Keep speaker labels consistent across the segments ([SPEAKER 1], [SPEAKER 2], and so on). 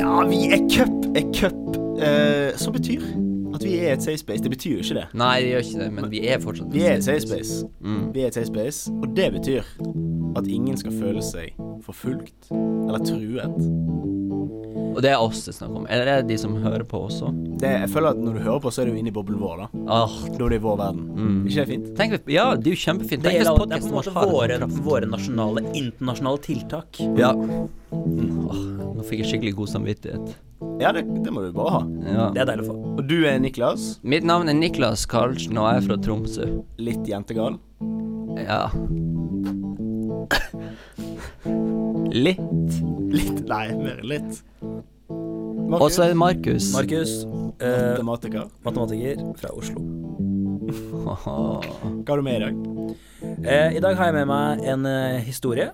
[SPEAKER 1] Ja, vi er cup, er cup, eh, som betyr at vi er et safe space. Det betyr jo ikke det.
[SPEAKER 2] Nei, det gjør ikke det, men vi er fortsatt
[SPEAKER 1] Vi er et safe space.
[SPEAKER 2] Mm.
[SPEAKER 1] Vi er et safe space, og det betyr at ingen skal føle seg forfulgt eller truet.
[SPEAKER 2] Og det er oss det er snakk om. Eller det er de som hører på også.
[SPEAKER 1] Det, jeg føler at når du hører på, så er du inne i boblen vår, da.
[SPEAKER 2] Ah,
[SPEAKER 1] Da er det i vår verden.
[SPEAKER 2] Mm.
[SPEAKER 1] Ikke det fint?
[SPEAKER 2] tenk, vi- ja, det er jo kjempefint.
[SPEAKER 3] Det
[SPEAKER 2] Tenk
[SPEAKER 3] er,
[SPEAKER 2] hvis
[SPEAKER 3] da- det er på
[SPEAKER 2] podcasten
[SPEAKER 3] en måte
[SPEAKER 2] vår har en
[SPEAKER 3] våre,
[SPEAKER 2] kraft.
[SPEAKER 3] våre nasjonale, internasjonale tiltak.
[SPEAKER 2] Ja. Mm, åh, nå fikk jeg skikkelig god samvittighet.
[SPEAKER 1] Ja, det, det må du bare ha.
[SPEAKER 2] Ja.
[SPEAKER 3] Det er deilig å få.
[SPEAKER 1] Og du er Niklas.
[SPEAKER 2] Mitt navn er Niklas Karlsen, og jeg er fra Tromsø.
[SPEAKER 1] Litt jentegal.
[SPEAKER 2] Ja. Litt.
[SPEAKER 1] Litt Nei, mer enn litt. eh,
[SPEAKER 2] Og så er det Markus.
[SPEAKER 3] Markus, eh,
[SPEAKER 1] Matematiker.
[SPEAKER 3] matematiker fra Oslo.
[SPEAKER 2] Åh.
[SPEAKER 1] Hva har du med i dag?
[SPEAKER 3] Eh, I dag har jeg med meg en eh, historie.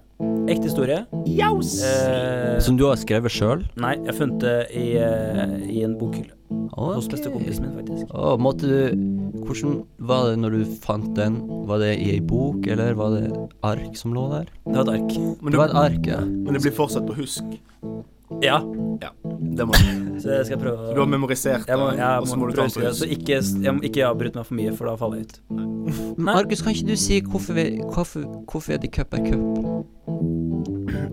[SPEAKER 3] Ekte historie.
[SPEAKER 1] Jaus!
[SPEAKER 3] Eh,
[SPEAKER 2] Som du har skrevet sjøl?
[SPEAKER 3] nei, jeg har funnet det i, eh, i en bokhylle. Hos
[SPEAKER 2] Okay.
[SPEAKER 3] bestekompisen min, faktisk.
[SPEAKER 2] Åh, måtte du Hvordan var det når du fant den? Var det i ei bok, eller var det ark som lå der?
[SPEAKER 3] Det var et ark.
[SPEAKER 1] Men,
[SPEAKER 2] Det
[SPEAKER 1] du,
[SPEAKER 2] var et ark, ja.
[SPEAKER 1] men det blir fortsatt på husk.
[SPEAKER 3] Ja,
[SPEAKER 1] Ja, det må du.
[SPEAKER 3] så jeg skal prøve
[SPEAKER 1] Du har
[SPEAKER 3] å
[SPEAKER 1] memorisert det,
[SPEAKER 3] jeg må, jeg
[SPEAKER 1] og så
[SPEAKER 3] må
[SPEAKER 1] må du ta
[SPEAKER 3] prøve å
[SPEAKER 1] den
[SPEAKER 3] huske
[SPEAKER 1] på
[SPEAKER 3] det, så
[SPEAKER 1] husk.
[SPEAKER 3] ikke, jeg må ikke avbryte meg for mye, for da faller jeg ut.
[SPEAKER 2] Markus, kan ikke du si hvorfor, vi, hvorfor, hvorfor er det cup er cup?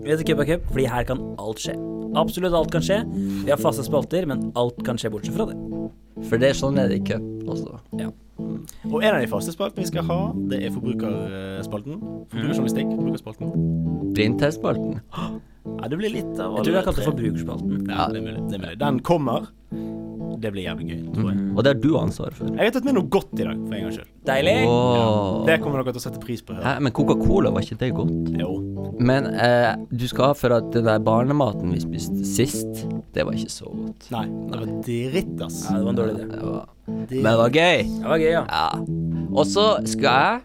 [SPEAKER 3] Vi heter Cup er Cup, fordi her kan alt skje. Absolutt alt kan skje. Vi har faste spalter, men alt kan skje bortsett fra det.
[SPEAKER 2] For det er sånn er det i cup også.
[SPEAKER 1] Og en av de faste spaltene vi skal ha, det er forbrukerspalten. Forbrukerjournalistikk. Forbrukerspalten.
[SPEAKER 2] Blindtestspalten.
[SPEAKER 1] Ja, det blir litt av
[SPEAKER 3] Jeg tror vi har kalt det Forbrukerspalten.
[SPEAKER 1] Ja, det er mulig. Det er mulig. Den kommer. Det blir jævlig gøy, tror jeg.
[SPEAKER 2] Og det har du ansvar for.
[SPEAKER 1] Jeg har tatt med noe godt i dag, for en gangs skyld.
[SPEAKER 3] Deilig!
[SPEAKER 2] Åh.
[SPEAKER 1] Det kommer dere til å sette pris på. å høre.
[SPEAKER 2] Hæ, men Coca-Cola, var ikke det godt?
[SPEAKER 1] Jo.
[SPEAKER 2] Men eh, du skal ha for at den der barnematen vi spiste sist, det var ikke så godt.
[SPEAKER 1] Nei, det var dritt, ass.
[SPEAKER 3] Ja, det var en dårlig idé.
[SPEAKER 2] Det var, men det
[SPEAKER 1] Dritt.
[SPEAKER 2] var gøy.
[SPEAKER 3] Det var gøy, ja.
[SPEAKER 2] Ja. Og så skal jeg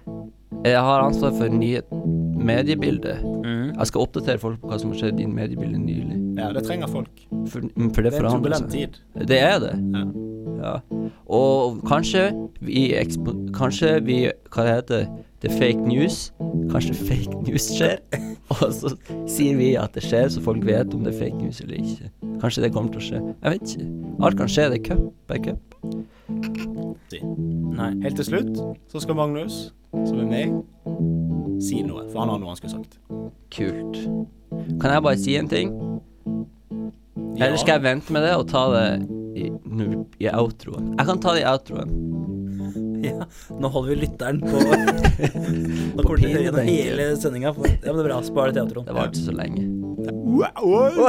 [SPEAKER 2] Jeg har ansvar for nye mediebilder.
[SPEAKER 3] Mhm.
[SPEAKER 2] Jeg skal oppdatere folk på hva som har skjedd i mediebildet nylig.
[SPEAKER 1] Ja, det trenger folk.
[SPEAKER 2] For, for
[SPEAKER 1] Det
[SPEAKER 2] det
[SPEAKER 1] er en
[SPEAKER 2] forandrer
[SPEAKER 1] turbulent
[SPEAKER 2] seg.
[SPEAKER 1] tid.
[SPEAKER 2] Det er det.
[SPEAKER 1] Ja.
[SPEAKER 2] Ja. Og kanskje vi ekspo... Kanskje vi Hva det heter det? er fake news. Kanskje fake news skjer. Og så sier vi at det skjer, så folk vet om det er fake news eller ikke. Kanskje det kommer til å skje. Jeg vet ikke. Alt kan skje. Det er cup by cup.
[SPEAKER 3] Nei.
[SPEAKER 1] Helt til slutt så skal Magnus, som er meg, si noe. For han har noe han skulle sagt.
[SPEAKER 2] Kult. Kan jeg bare si en ting? Eller skal jeg vente med det og ta det i, nå- i outroen? Jeg kan ta det i outroen.
[SPEAKER 3] Ja, nå holder vi lytteren på Nå kommer de til å høre gjennom hele sendinga. Ja, men det er bra. Spar det til outroen.
[SPEAKER 2] Det varte så lenge.
[SPEAKER 1] Wow.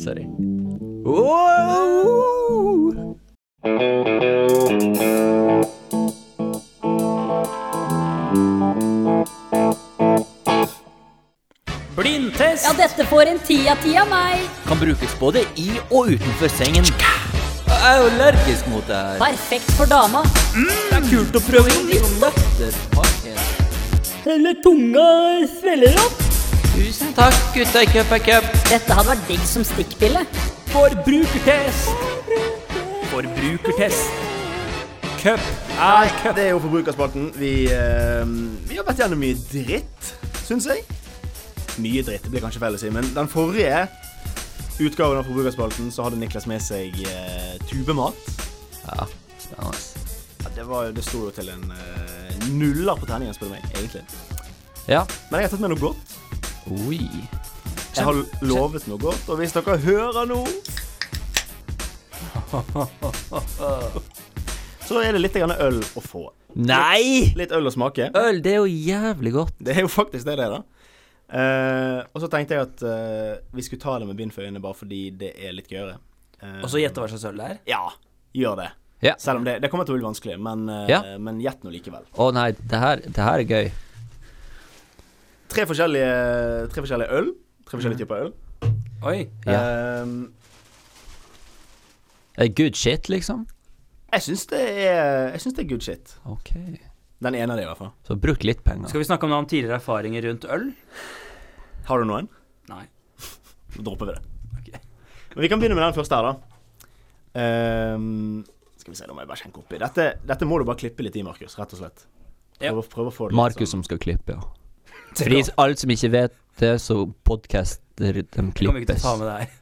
[SPEAKER 2] Sorry. Wow!
[SPEAKER 3] Blindtest!
[SPEAKER 4] Ja, dette får en ti av ti av meg.
[SPEAKER 5] kan brukes både i og utenfor sengen. Jeg er jo allergisk mot det her.
[SPEAKER 4] Perfekt for dama.
[SPEAKER 5] Det er kult å prøve inn i nøtter.
[SPEAKER 4] Hele tunga sveller opp.
[SPEAKER 5] Tusen takk, gutta i Cup er Cup.
[SPEAKER 4] Dette hadde vært digg som stikkpille.
[SPEAKER 3] Forbrukertest! Forbrukertest. Cup er cup.
[SPEAKER 1] Det er jo Forbrukerspalten. Vi, eh, vi har vært gjennom mye dritt, syns jeg. Mye dritt, det blir kanskje feil å si, men den forrige utgaven av Forbrukerspalten så hadde Niklas med seg eh, tubemat.
[SPEAKER 2] Ja, spennende.
[SPEAKER 1] Ja, det, var, det sto jo til en eh, nuller på terningen, spør du meg, egentlig.
[SPEAKER 2] Ja.
[SPEAKER 1] Men jeg har tatt med noe godt.
[SPEAKER 2] Oi.
[SPEAKER 1] Jeg har lovet noe godt, og hvis dere hører nå Så er det litt grann øl å få.
[SPEAKER 2] Nei!
[SPEAKER 1] Litt øl å smake.
[SPEAKER 2] Øl, det er jo jævlig godt.
[SPEAKER 1] Det er jo faktisk det det er, da. Eh, og så tenkte jeg at eh, vi skulle ta det med bind for øynene bare fordi det er litt gøyere. Eh,
[SPEAKER 3] Og så gjette hva slags øl det er.
[SPEAKER 1] Ja, gjør det.
[SPEAKER 2] Ja.
[SPEAKER 1] Selv om det, det kommer til å bli vanskelig, men, eh,
[SPEAKER 2] Ja.
[SPEAKER 1] men gjett nå likevel.
[SPEAKER 2] Å nei, det her, det her er gøy.
[SPEAKER 1] Tre forskjellige, tre forskjellige øl. Tre forskjellige typer øl.
[SPEAKER 3] Oi.
[SPEAKER 2] Ja.
[SPEAKER 1] Eh,
[SPEAKER 2] Er det Good shit, liksom?
[SPEAKER 1] Jeg syns det er Jeg synes det er good shit.
[SPEAKER 2] OK.
[SPEAKER 1] Den ene av de, i hvert fall.
[SPEAKER 2] Så bruk litt penger.
[SPEAKER 3] Skal vi snakke om noen tidligere erfaringer rundt øl?
[SPEAKER 1] Har du noen?
[SPEAKER 3] Nei.
[SPEAKER 1] Da dropper vi det. Men vi kan begynne med den første her, da. Ehm, skal vi se, nå må jeg bare skjenke oppi. Dette, dette må du bare klippe litt i, Markus. Rett og slett.
[SPEAKER 3] Ja.
[SPEAKER 1] Prøv, å- prøv å få det litt sånn.
[SPEAKER 2] Markus som skal klippe, ja. Fordi alle som ikke vet det, så podcaster de
[SPEAKER 3] Vi kommer ikke til
[SPEAKER 2] klippes.
[SPEAKER 3] å ta med det her.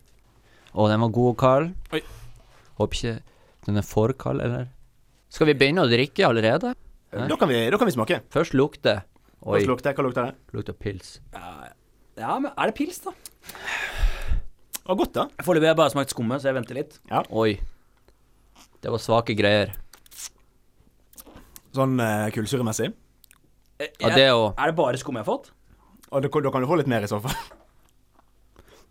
[SPEAKER 2] Og den var god og kald.
[SPEAKER 3] Oi.
[SPEAKER 2] Håper ikke den er for kald, eller? Skal vi begynne å drikke allerede?
[SPEAKER 1] sånn. Da kan, vi, da kan vi smake.
[SPEAKER 2] Først lukte. Oi,
[SPEAKER 1] Hvordan lukter det? Hva lukter det?
[SPEAKER 2] lukter pils.
[SPEAKER 3] Ja, men er det pils, da?
[SPEAKER 1] Å, godt, da.
[SPEAKER 3] Foreløpig har jeg bare smakt skummet, så jeg venter litt.
[SPEAKER 2] Oi. Det var svake greier.
[SPEAKER 1] Sånn eh, kullsyremessig.
[SPEAKER 3] Eh,
[SPEAKER 2] Ja,
[SPEAKER 3] jeg-
[SPEAKER 2] det òg.
[SPEAKER 3] Er det bare skum jeg har fått?
[SPEAKER 1] Og da, da kan du få litt mer, i så fall.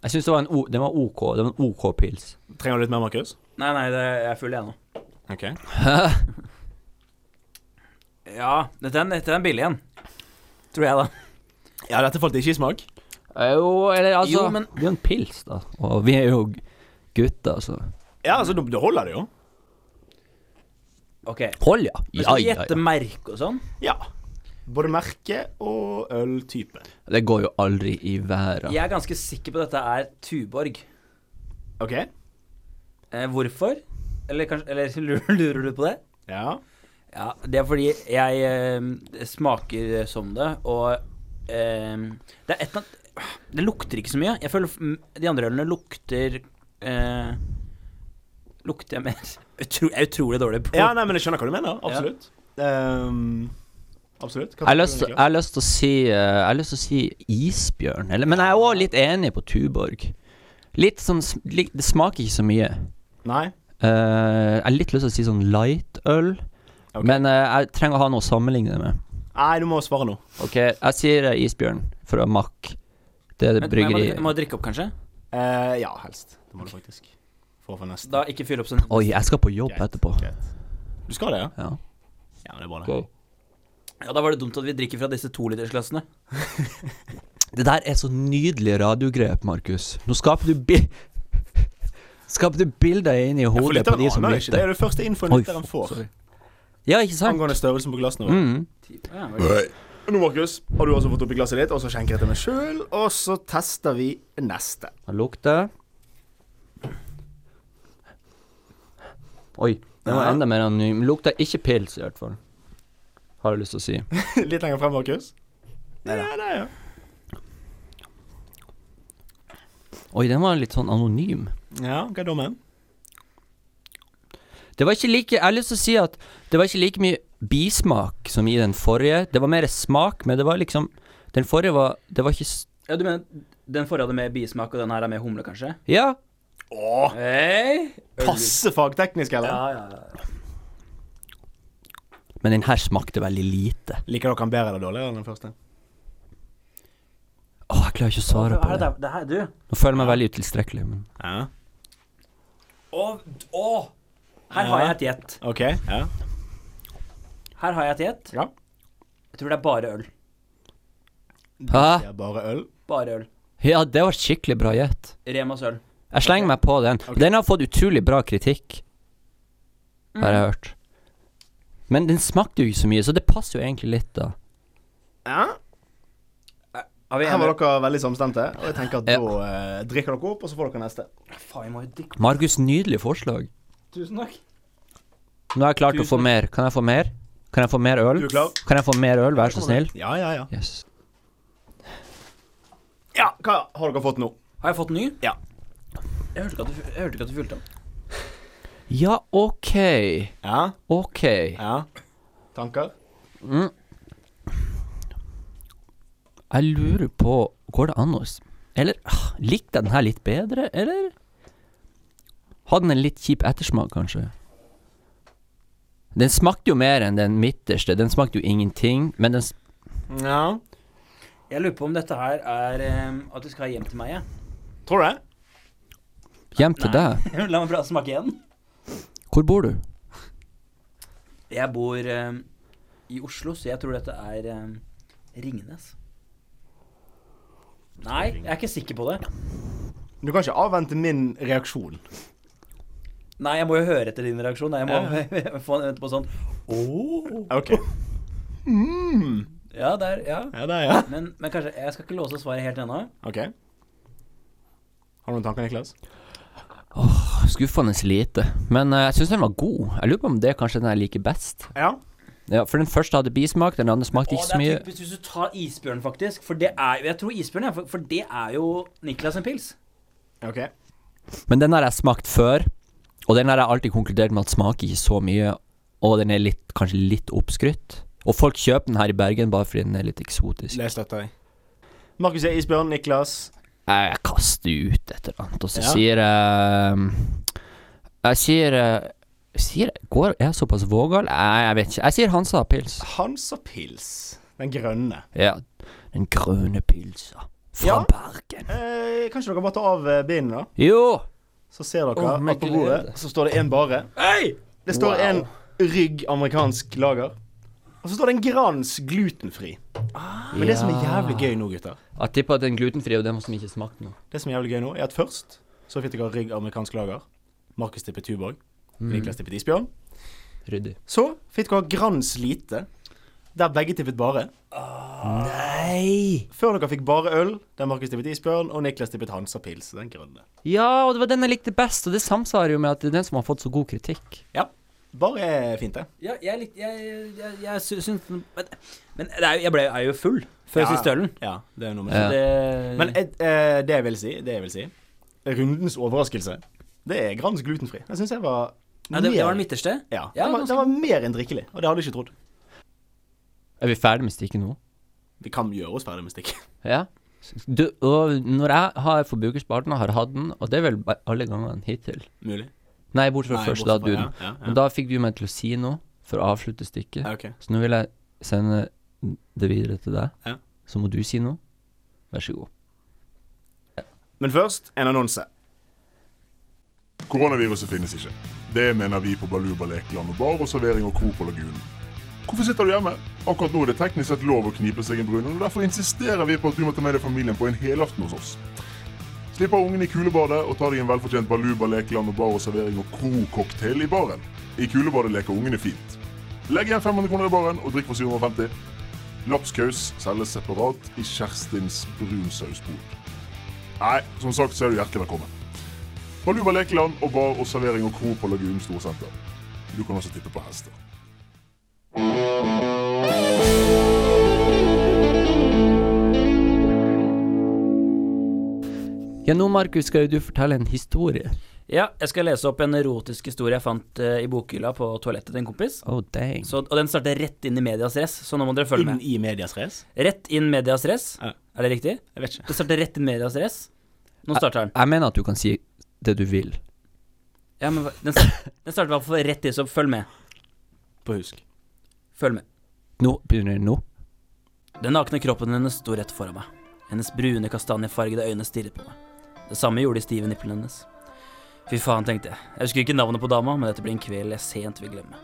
[SPEAKER 2] Jeg syns det var en o, den var OK. Det var en OK pils.
[SPEAKER 1] Trenger du litt mer, Markus?
[SPEAKER 3] Nei, nei, det, jeg er full jeg nå.
[SPEAKER 1] OK.
[SPEAKER 3] Ja, dette er, en- dette er en billig en. Tror jeg, da.
[SPEAKER 1] Ja, dette falt ikke i smak.
[SPEAKER 2] Jo, eller altså
[SPEAKER 3] Jo, men-
[SPEAKER 2] Det er jo en pils, da. Og vi er jo g- gutter, så
[SPEAKER 1] Ja, altså, da- da holder det jo.
[SPEAKER 3] Ok.
[SPEAKER 2] Hold, ja.
[SPEAKER 3] Men
[SPEAKER 2] Ja,
[SPEAKER 3] skal vi
[SPEAKER 2] ja,
[SPEAKER 3] gjette
[SPEAKER 2] ja.
[SPEAKER 3] merke og sånn?
[SPEAKER 1] Ja. Både merke og øltype.
[SPEAKER 2] Det går jo aldri i været.
[SPEAKER 3] Jeg er ganske sikker på at dette er Tuborg.
[SPEAKER 1] OK?
[SPEAKER 3] Eh, hvorfor? Eller, kanskje, eller lurer, lurer du på det?
[SPEAKER 1] Ja.
[SPEAKER 3] Ja, det er fordi jeg eh, smaker som det, og eh, det er et eller annet Det lukter ikke så mye. Jeg føler f- de andre ølene lukter eh, Lukter jeg mer utro, Jeg er utrolig dårlig på
[SPEAKER 1] Ja, nei, men jeg skjønner hva du mener. Absolutt. Ehm, absolutt. Hva
[SPEAKER 2] Jeg har
[SPEAKER 1] tenker
[SPEAKER 2] lyst
[SPEAKER 1] du,
[SPEAKER 2] jeg
[SPEAKER 1] Niklas?
[SPEAKER 2] har lyst til å si eh, Jeg har lyst til å si isbjørn, eller, men jeg er òg litt enig på Tuborg. Litt sånn sm- litt, Det smaker ikke så mye.
[SPEAKER 1] Nei?
[SPEAKER 2] Eh, jeg har litt lyst til å si sånn lightøl,
[SPEAKER 1] Ok.
[SPEAKER 2] men eh, jeg trenger å ha noe å sammenligne det med.
[SPEAKER 1] Nei, du må svare nå.
[SPEAKER 2] Ok, jeg sier eh, isbjørn fra Mack. Det er det
[SPEAKER 3] Men jeg må,
[SPEAKER 2] bryggeri...
[SPEAKER 3] jeg må drikke opp, kanskje?
[SPEAKER 1] Eh, ja, helst. Det må du faktisk. For å få neste.
[SPEAKER 3] Da ikke fylle opp sånn
[SPEAKER 2] Oi, jeg skal på jobb
[SPEAKER 1] Greit,
[SPEAKER 2] etterpå.
[SPEAKER 1] greit. Du skal det, ja?
[SPEAKER 2] Ja.
[SPEAKER 1] Ja, men det er bra, det.
[SPEAKER 2] Ok.
[SPEAKER 3] Ja, da var det dumt at vi drikker fra disse tolitersglassene.
[SPEAKER 2] Det der er så nydelige radiogrep, Markus. Nå skaper du bi... Skaper du bilder inni
[SPEAKER 1] Ja, for
[SPEAKER 2] hodet på
[SPEAKER 1] lytteren
[SPEAKER 2] de som
[SPEAKER 1] aner det ikke. Det
[SPEAKER 2] lytter.
[SPEAKER 1] er det første infoen
[SPEAKER 2] Oi,
[SPEAKER 1] lytteren får
[SPEAKER 2] sorry. Ja, ikke sant?
[SPEAKER 1] angående størrelsen på glassene. våre.
[SPEAKER 2] Mm.
[SPEAKER 3] Ja, vel.
[SPEAKER 1] Nå, Markus, har du også fått oppi glasset ditt, og så skjenker jeg til meg sjøl, og så tester vi neste.
[SPEAKER 2] Det lukter Oi, den var
[SPEAKER 1] Ja.
[SPEAKER 2] enda mer anonym. Den Lukter ikke pils, i hvert fall. Har jeg lyst til å si.
[SPEAKER 1] Litt lenger frem, Markus. Ja, det er jo
[SPEAKER 2] Oi, den var litt sånn anonym.
[SPEAKER 1] Ja, hva er dommen?
[SPEAKER 2] Det var ikke like Jeg har lyst til å si at det var ikke like mye bismak som i den forrige. Det var mer smak, men det var liksom Den forrige var Det var ikke s-
[SPEAKER 3] ja, du mener den forrige hadde mer bismak, og den her er mer humle, kanskje?
[SPEAKER 2] Ja.
[SPEAKER 1] Åh,
[SPEAKER 3] Hey.
[SPEAKER 1] passe fagteknisk, eller?
[SPEAKER 3] Ja, ja, ja.
[SPEAKER 2] Men den her smakte veldig lite.
[SPEAKER 1] Liker dere den bedre eller dårligere enn den første?
[SPEAKER 2] Å, jeg klarer ikke å svare på det.
[SPEAKER 3] det her, du?
[SPEAKER 2] Nå føler jeg meg veldig utilstrekkelig, men
[SPEAKER 1] Ja.
[SPEAKER 3] Å, å! Her har jeg et gjett.
[SPEAKER 1] OK. Ja.
[SPEAKER 3] Her har jeg et gjett.
[SPEAKER 1] Ja.
[SPEAKER 3] Jeg tror det er bare øl.
[SPEAKER 1] Det
[SPEAKER 2] Hæ?
[SPEAKER 1] er bare øl.
[SPEAKER 3] Bare øl.
[SPEAKER 2] Ja, det var skikkelig bra gjett.
[SPEAKER 3] Remas øl.
[SPEAKER 2] Jeg slenger meg på den. Den har fått utrolig bra kritikk, har jeg hørt. Men den smakte jo ikke så mye, så det passer jo egentlig litt, da.
[SPEAKER 1] Ja.
[SPEAKER 3] Har vi
[SPEAKER 1] Her var
[SPEAKER 3] en?
[SPEAKER 1] dere veldig samstemte, og jeg tenker at
[SPEAKER 2] Ja.
[SPEAKER 1] da eh, drikker dere opp, og så får dere neste.
[SPEAKER 3] Faen, jeg må jo drikke.
[SPEAKER 2] Markus, nydelig forslag.
[SPEAKER 3] Tusen takk.
[SPEAKER 2] Nå har jeg klart å få mer. Kan jeg få mer? Kan jeg få mer øl?
[SPEAKER 1] Du er klar?
[SPEAKER 2] Kan jeg få mer øl, vær så snill?
[SPEAKER 1] Ja, ja, ja.
[SPEAKER 2] Yes.
[SPEAKER 1] Ja, Hva har dere fått nå?
[SPEAKER 3] Har jeg fått en ny?
[SPEAKER 1] Ja.
[SPEAKER 3] Jeg hørte ikke at du, jeg hørte ikke at du fylte den.
[SPEAKER 2] Ja, OK.
[SPEAKER 1] Ja.
[SPEAKER 2] OK.
[SPEAKER 1] ja. Tanker?
[SPEAKER 2] Jeg lurer på Går det an å s- Eller ah, likte jeg den her litt bedre, eller? Hadde den en litt kjip ettersmak, kanskje? Den smakte jo mer enn den midterste. Den smakte jo ingenting, men den s-
[SPEAKER 1] Ja.
[SPEAKER 3] Jeg lurer på om dette her er eh, at du skal hjem til meg, jeg.
[SPEAKER 1] Tror du det?
[SPEAKER 2] Hjem til deg.
[SPEAKER 3] La meg prøve å smake igjen.
[SPEAKER 2] Hvor bor du?
[SPEAKER 3] Jeg bor eh, i Oslo, så jeg tror dette er eh, Ringnes. Nei, jeg er ikke sikker på det.
[SPEAKER 1] Du kan ikke avvente min reaksjon.
[SPEAKER 3] Nei, jeg må jo høre etter din reaksjon. Jeg må få en vente på sånn Åh
[SPEAKER 1] OK. Mm.
[SPEAKER 3] Ja, der, ja.
[SPEAKER 1] Ja, der, ja.
[SPEAKER 3] Men, men kanskje Jeg skal ikke låse svaret helt ennå.
[SPEAKER 1] OK. Har du noen tanker, Niklas?
[SPEAKER 2] Ah, Skuffende lite. Men eh, jeg syns den var god. Jeg lurer på om det er kanskje den jeg liker best.
[SPEAKER 1] Ja.
[SPEAKER 2] Ja, For den første hadde bismak, den andre smakte
[SPEAKER 3] Og
[SPEAKER 2] ikke
[SPEAKER 3] det
[SPEAKER 2] så mye.
[SPEAKER 3] er typisk hvis du tar isbjørn, faktisk. For det er jo Jeg tror isbjørn, ja, for, for det er jo Niklas en pils.
[SPEAKER 1] OK.
[SPEAKER 2] Men den har jeg smakt før, og den har jeg alltid konkludert med at smaker ikke så mye, og den er litt, kanskje litt oppskrytt. Og folk kjøper den her i Bergen bare fordi den er litt eksotisk.
[SPEAKER 1] Les dette. Markus er isbjørn. Niklas
[SPEAKER 2] Jeg, jeg kaster ut et eller annet, og så
[SPEAKER 1] Ja.
[SPEAKER 2] sier jeg eh, Jeg sier eh, Sier jeg går, Er jeg såpass vågal? Nei, jeg vet ikke. Jeg sier Hansa pils.
[SPEAKER 1] Hansa Pils. Den grønne.
[SPEAKER 2] Ja. Den grønne pilsa fra
[SPEAKER 1] Ja.
[SPEAKER 2] Bergen.
[SPEAKER 1] Eh, kanskje dere bare tar av eh, bindene, da?
[SPEAKER 2] Jo!
[SPEAKER 1] Så ser dere
[SPEAKER 2] Åh, med
[SPEAKER 1] at på bordet
[SPEAKER 2] glede.
[SPEAKER 1] så står det en bare. Det står
[SPEAKER 2] Wow.
[SPEAKER 1] en rygg amerikansk lager. Og så står det en Grans glutenfri.
[SPEAKER 2] Ah.
[SPEAKER 1] Men det som er jævlig gøy nå, gutter
[SPEAKER 2] Jeg tipper at den glutenfrie og den som ikke smakte noe.
[SPEAKER 1] Det som er jævlig gøy nå, er at først så fikk dere rygg amerikansk lager. Markus tippet Tuborg.
[SPEAKER 2] Mm.
[SPEAKER 1] Niklas tippet Isbjørn.
[SPEAKER 2] Ryddig.
[SPEAKER 1] Så fikk dere Grans lite, der begge tippet bare.
[SPEAKER 2] Ah,
[SPEAKER 1] nei! Før dere fikk bare øl, der Markus tippet Isbjørn, og Niklas tippet Hansa Pils, den grønne.
[SPEAKER 2] Ja, og det var den jeg likte best, og det samsvarer jo med at det er den som har fått så god kritikk.
[SPEAKER 1] Bare er fint, det.
[SPEAKER 3] Ja, jeg, lik- jeg, jeg, jeg sy- syns den- Men, men det er, jo- jeg ble, er jo full før
[SPEAKER 1] Ja.
[SPEAKER 3] siste ølen.
[SPEAKER 1] Ja, det er noe med
[SPEAKER 2] Ja.
[SPEAKER 1] det.
[SPEAKER 3] Det-
[SPEAKER 1] Men et, eh, det jeg vil si, det jeg vil si Rundens overraskelse, det er Grans glutenfri. Jeg syns jeg var
[SPEAKER 3] ja, det, det var den
[SPEAKER 1] mer-
[SPEAKER 3] midterste.
[SPEAKER 1] Ja,
[SPEAKER 3] Ja,
[SPEAKER 1] den var,
[SPEAKER 3] ganske-
[SPEAKER 1] den var mer enn drikkelig, og det hadde jeg ikke trodd.
[SPEAKER 2] Er vi ferdig med stikket nå?
[SPEAKER 1] Vi kan gjøre oss ferdig med stikk.
[SPEAKER 2] Ja. Du, og når jeg har forbrukerspalten, har hatt den, og det er vel ba- alle gangene hittil
[SPEAKER 1] Mulig.
[SPEAKER 2] Nei, bortsett fra
[SPEAKER 1] Nei,
[SPEAKER 2] først,
[SPEAKER 1] bortsett
[SPEAKER 2] da
[SPEAKER 1] fra-
[SPEAKER 2] hadde du den.
[SPEAKER 1] ja, ja, ja.
[SPEAKER 2] Men da fikk du meg til å si noe for å avslutte stykket.
[SPEAKER 1] Ja, ok.
[SPEAKER 2] Så nå vil jeg sende det videre til deg.
[SPEAKER 1] Ja.
[SPEAKER 2] Så må du si noe. Vær så god.
[SPEAKER 1] Men først en annonse.
[SPEAKER 6] Koronaviruset finnes ikke. Det mener vi på Baluba lekeland og bar og servering og kro på lagunen. Hvorfor sitter du hjemme? Akkurat nå er det teknisk sett lov å knipe seg en brun, og derfor insisterer vi på at du må ta med deg familien på en helaften hos oss. Slipp av ungen i kulebadet og ta deg en velfortjent Baluba lekeland og bar og servering og kro-cocktail i baren. I kulebadet leker ungene fint. Legg igjen 500 kroner i baren og drikk for 750. Lapskaus selges separat i Kjerstins brunsausbod. Nei, som sagt så er du hjertelig velkommen. Baluba lekeland og bar og servering og kro på Lagunen Storsenter. Du kan også tippe på hester.
[SPEAKER 2] Ja, nå, Markus, skal jo du fortelle en historie.
[SPEAKER 3] Ja, jeg skal lese opp en erotisk historie jeg fant eh, i bokhylla på toalettet til en kompis.
[SPEAKER 2] Oh, dang.
[SPEAKER 3] Så, og den starter rett inn i medias race, så nå må dere følge
[SPEAKER 1] Inn
[SPEAKER 3] med.
[SPEAKER 1] i medias race.
[SPEAKER 3] Rett inn medias race.
[SPEAKER 1] Ja.
[SPEAKER 3] Er det riktig?
[SPEAKER 1] Jeg vet ikke. Ah.
[SPEAKER 3] Det starter rett inn medias race. Nå starter den.
[SPEAKER 2] Jeg mener at du kan si det du vil.
[SPEAKER 3] Ja, men hva- den, sta- den starter i hvert fall rett i, så følg med.
[SPEAKER 1] På husk.
[SPEAKER 3] Følg med.
[SPEAKER 2] Nå begynner det nå.
[SPEAKER 3] Den nakne kroppen hennes sto rett foran meg. Hennes brune, kastanjefargede øyne stirret på meg. Det samme gjorde de stive nipplene hennes. Fy faen, tenkte jeg. Jeg husker ikke navnet på dama, men dette blir en kveld jeg sent vil glemme.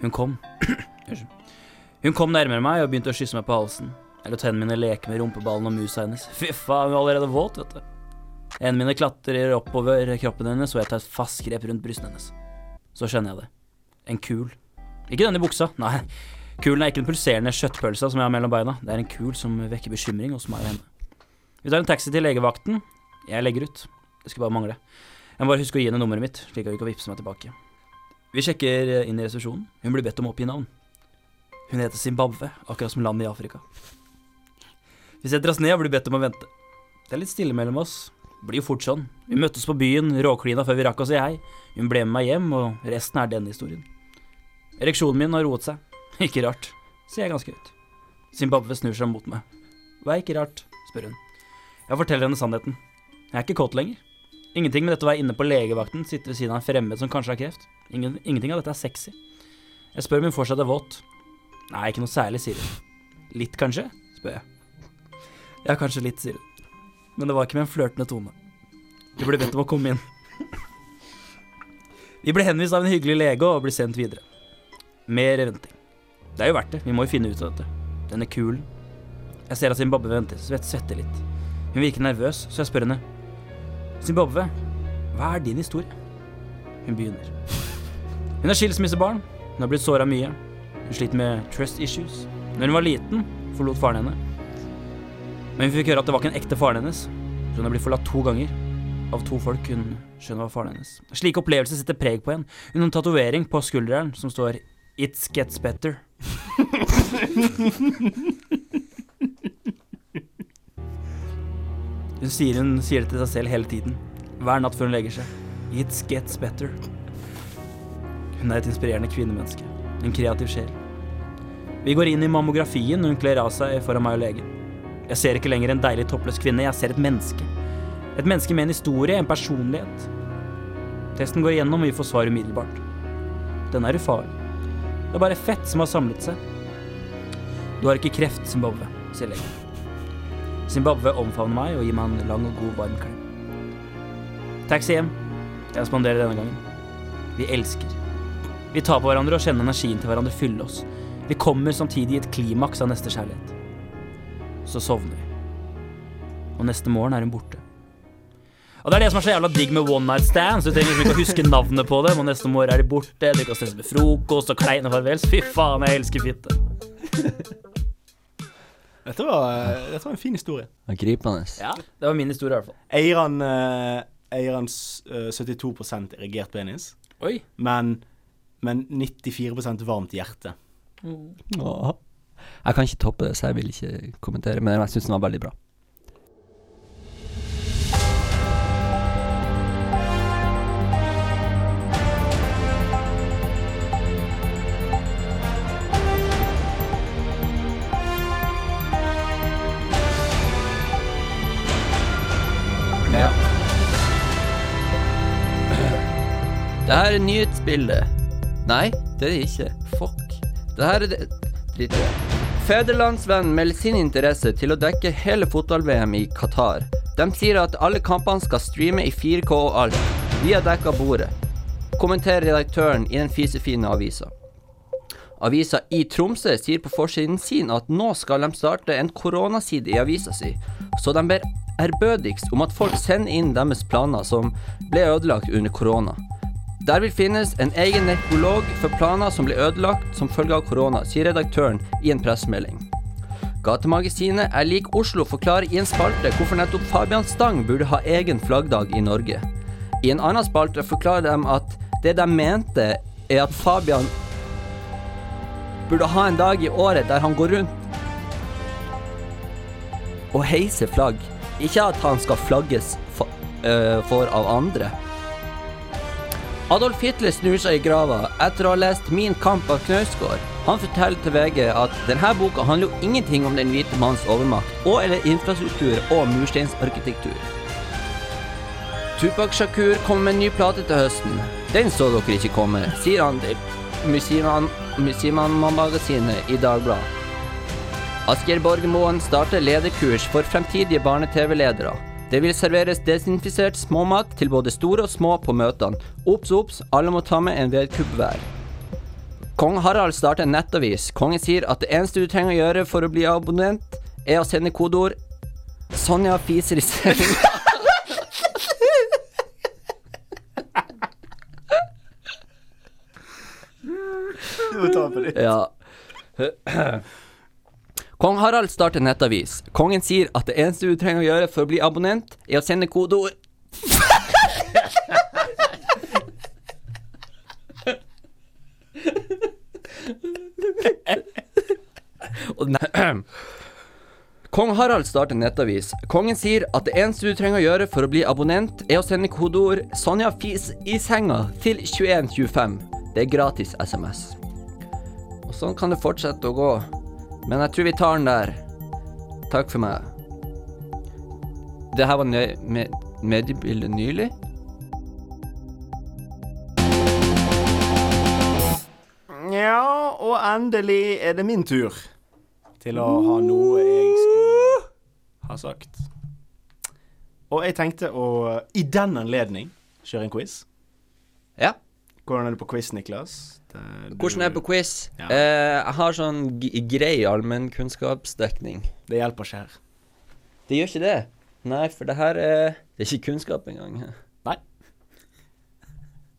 [SPEAKER 3] Hun kom Unnskyld. Hun kom nærmere meg og begynte å kysse meg på halsen. Jeg lot hendene mine leke med rumpeballen og musa hennes. Fy faen, hun er allerede våt, vet du. Hendene mine klatrer oppover kroppen hennes, og jeg tar et fast grep rundt brystene hennes. Så skjønner jeg det. En kul. Ikke den i buksa, nei. Kulen er ikke den pulserende kjøttpølsa som jeg har mellom beina. Det er en kul som vekker bekymring hos meg og henne. Vi tar en taxi til legevakten. Jeg legger ut. Det skulle bare mangle. Jeg må bare huske å gi henne nummeret mitt, slik at hun kan vippse meg tilbake. Vi sjekker eh, inn i resepsjonen. Hun blir bedt om å oppgi navn. Hun heter Zimbabwe, akkurat som landet i Afrika. Vi setter oss ned og blir bedt om å vente. Det er litt stille mellom oss. Det blir jo fort sånn. Vi møttes på byen, råklina før vi rakk å si hei. Hun ble med meg hjem, og resten er denne historien. Ereksjonen min har roet seg. Ikke rart, sier jeg ganske høyt. Zimbabwe snur seg mot meg. Hva er ikke rart, spør hun. Jeg forteller henne sannheten. Jeg er ikke kåt lenger. Ingenting med dette å være inne på legevakten, sitte ved siden av en fremmed som kanskje har kreft. Ingen, ingenting av dette er sexy. Jeg spør om hun fortsatt er våt. Nei, ikke noe særlig, sier hun. Litt, kanskje? spør jeg. Ja, kanskje litt, sier hun. Men det var ikke med en flørtende tone. Du ble bedt om å komme inn. Vi ble henvist av en hyggelig lege og ble sendt videre. Mer venting. Det er jo verdt det. Vi må jo finne ut av dette. Den er kul. Jeg ser at Zimbabwe venter, så jeg svetter litt. Hun virker nervøs, så jeg spør henne. Zimbabwe, hva er din historie? hun begynner. Hun er skilsmissebarn. Hun har blitt såra mye. Hun sliter med trust issues. Når hun var liten, forlot faren henne. Men hun fikk høre at det var ikke den ekte faren hennes, så hun har blitt forlatt to ganger. Av to folk hun skjønner var faren hennes. Slike opplevelser setter preg på henne. Hun har en tatovering på skulderen som står 'It gets better'. Hun sier, hun sier det til seg selv hele tiden. Hver natt før hun legger seg. It gets better. Hun er et inspirerende kvinnemenneske. En kreativ sjel. Vi går inn i mammografien når hun kler av seg foran meg og legen. Jeg ser ikke lenger en deilig toppløs kvinne, jeg ser et menneske. Et menneske med en historie, en personlighet. Testen går igjennom, og vi får svar umiddelbart. Den er ufarlig. Det er bare fett som har samlet seg. Du har ikke kreft, Zimbabwe, sier legen. Zimbabwe omfavner meg og gir meg en lang og god varm klem. Taxi hjem. Jeg spanderer denne gangen. Vi elsker. Vi tar på hverandre og kjenner energien til hverandre fylle oss. Vi kommer samtidig i et klimaks av neste kjærlighet. Så sovner vi. Og neste morgen er hun borte. Og Det er det som er så jævla digg med one night stands. Du trenger liksom ikke å huske navnet på dem, og neste morgen er de borte. Du kan stresse med frokost og kleine farvels. Fy faen, jeg elsker fitte.
[SPEAKER 1] Dette var, eh, dette var en fin historie.
[SPEAKER 2] Gripende.
[SPEAKER 3] Ja, Det var min historie, i hvert fall.
[SPEAKER 1] Eier han eh, eier han s- eh, 72 erigert penis,
[SPEAKER 3] Oi.
[SPEAKER 1] men, men 94 varmt hjerte.
[SPEAKER 2] Åh. Jeg kan ikke toppe det, så jeg vil ikke kommentere, men jeg syns den var veldig bra.
[SPEAKER 7] Ja.
[SPEAKER 2] Det her er nyhetsbildet. Nei, det er det ikke. Fuck. Det her er det Drit i det. Federlandsvennen melder sin interesse til å dekke hele fotball-VM i Qatar. De sier at alle kampene skal streame i 4K og alt. Vi har dekka bordet. Kommenterer redaktøren i den fisefine avisa. Avisa i Tromsø sier på forsiden sin at nå skal de starte en koronaside i avisa si, så de ber ærbødigst om at folk sender inn deres planer som ble ødelagt under korona. Der vil finnes en egen nekrolog for planer som ble ødelagt som følge av korona, sier redaktøren i en pressemelding. Gatemagasinet Er lik Oslo forklarer i en spalte hvorfor nettopp Fabian Stang burde ha egen flaggdag i Norge. I en annen spalte forklarer de at det de mente, er at Fabian burde ha en dag i året der han går rundt og heiser flagg. Ikke at han skal flagges for, øh, for av andre. Adolf Hitler snur seg i grava etter å ha lest Min kamp av Knausgård. Han forteller til VG at denne boka handler jo ingenting om den hvite manns overmakt og eller infrastruktur og mursteinsarkitektur. Tupac Shakur kommer med en ny plate til høsten. Den så dere ikke komme, sier han til Musiman- Musimann-magasinet i Dagbladet. Asgeir Borgermoen starter lederkurs for fremtidige barne-TV-ledere. Det vil serveres desinfisert småmat til både store og små på møtene. Ops, ops, alle må ta med en vedkubb hver. Kong Harald starter en nettavis. Kongen sier at det eneste du trenger å gjøre for å bli abonnent, er å sende kodeord 'Sonja fiser i seng'.
[SPEAKER 1] Du må ta på det.
[SPEAKER 2] Ja. Kong Harald starter nettavis. Kongen sier at det eneste du trenger å gjøre for å bli abonnent, er å sende kodeord Og ne- Kong Harald starter nettavis. Kongen sier at det eneste du trenger å gjøre for å bli abonnent, er å sende kodeord 'Sonja fis i senga' til 2125. Det er gratis SMS. Og sånn kan det fortsette å gå. Men jeg tror vi tar den der. Takk for meg. Det her var nø med mediebildet nylig.
[SPEAKER 1] Ja, og endelig er det min tur til å ha noe jeg skulle ha sagt. Og jeg tenkte å, i den anledning, kjøre en quiz.
[SPEAKER 2] Ja.
[SPEAKER 1] Hvordan er det på quiz, Niklas? Det- du-
[SPEAKER 2] Hvordan er det på quiz?
[SPEAKER 1] Ja.
[SPEAKER 2] Eh, jeg har sånn g grei allmennkunnskapsdekning.
[SPEAKER 1] Det hjelper ikke her.
[SPEAKER 2] Det gjør ikke det. Nei, for det her er Det er ikke kunnskap engang.
[SPEAKER 1] Nei.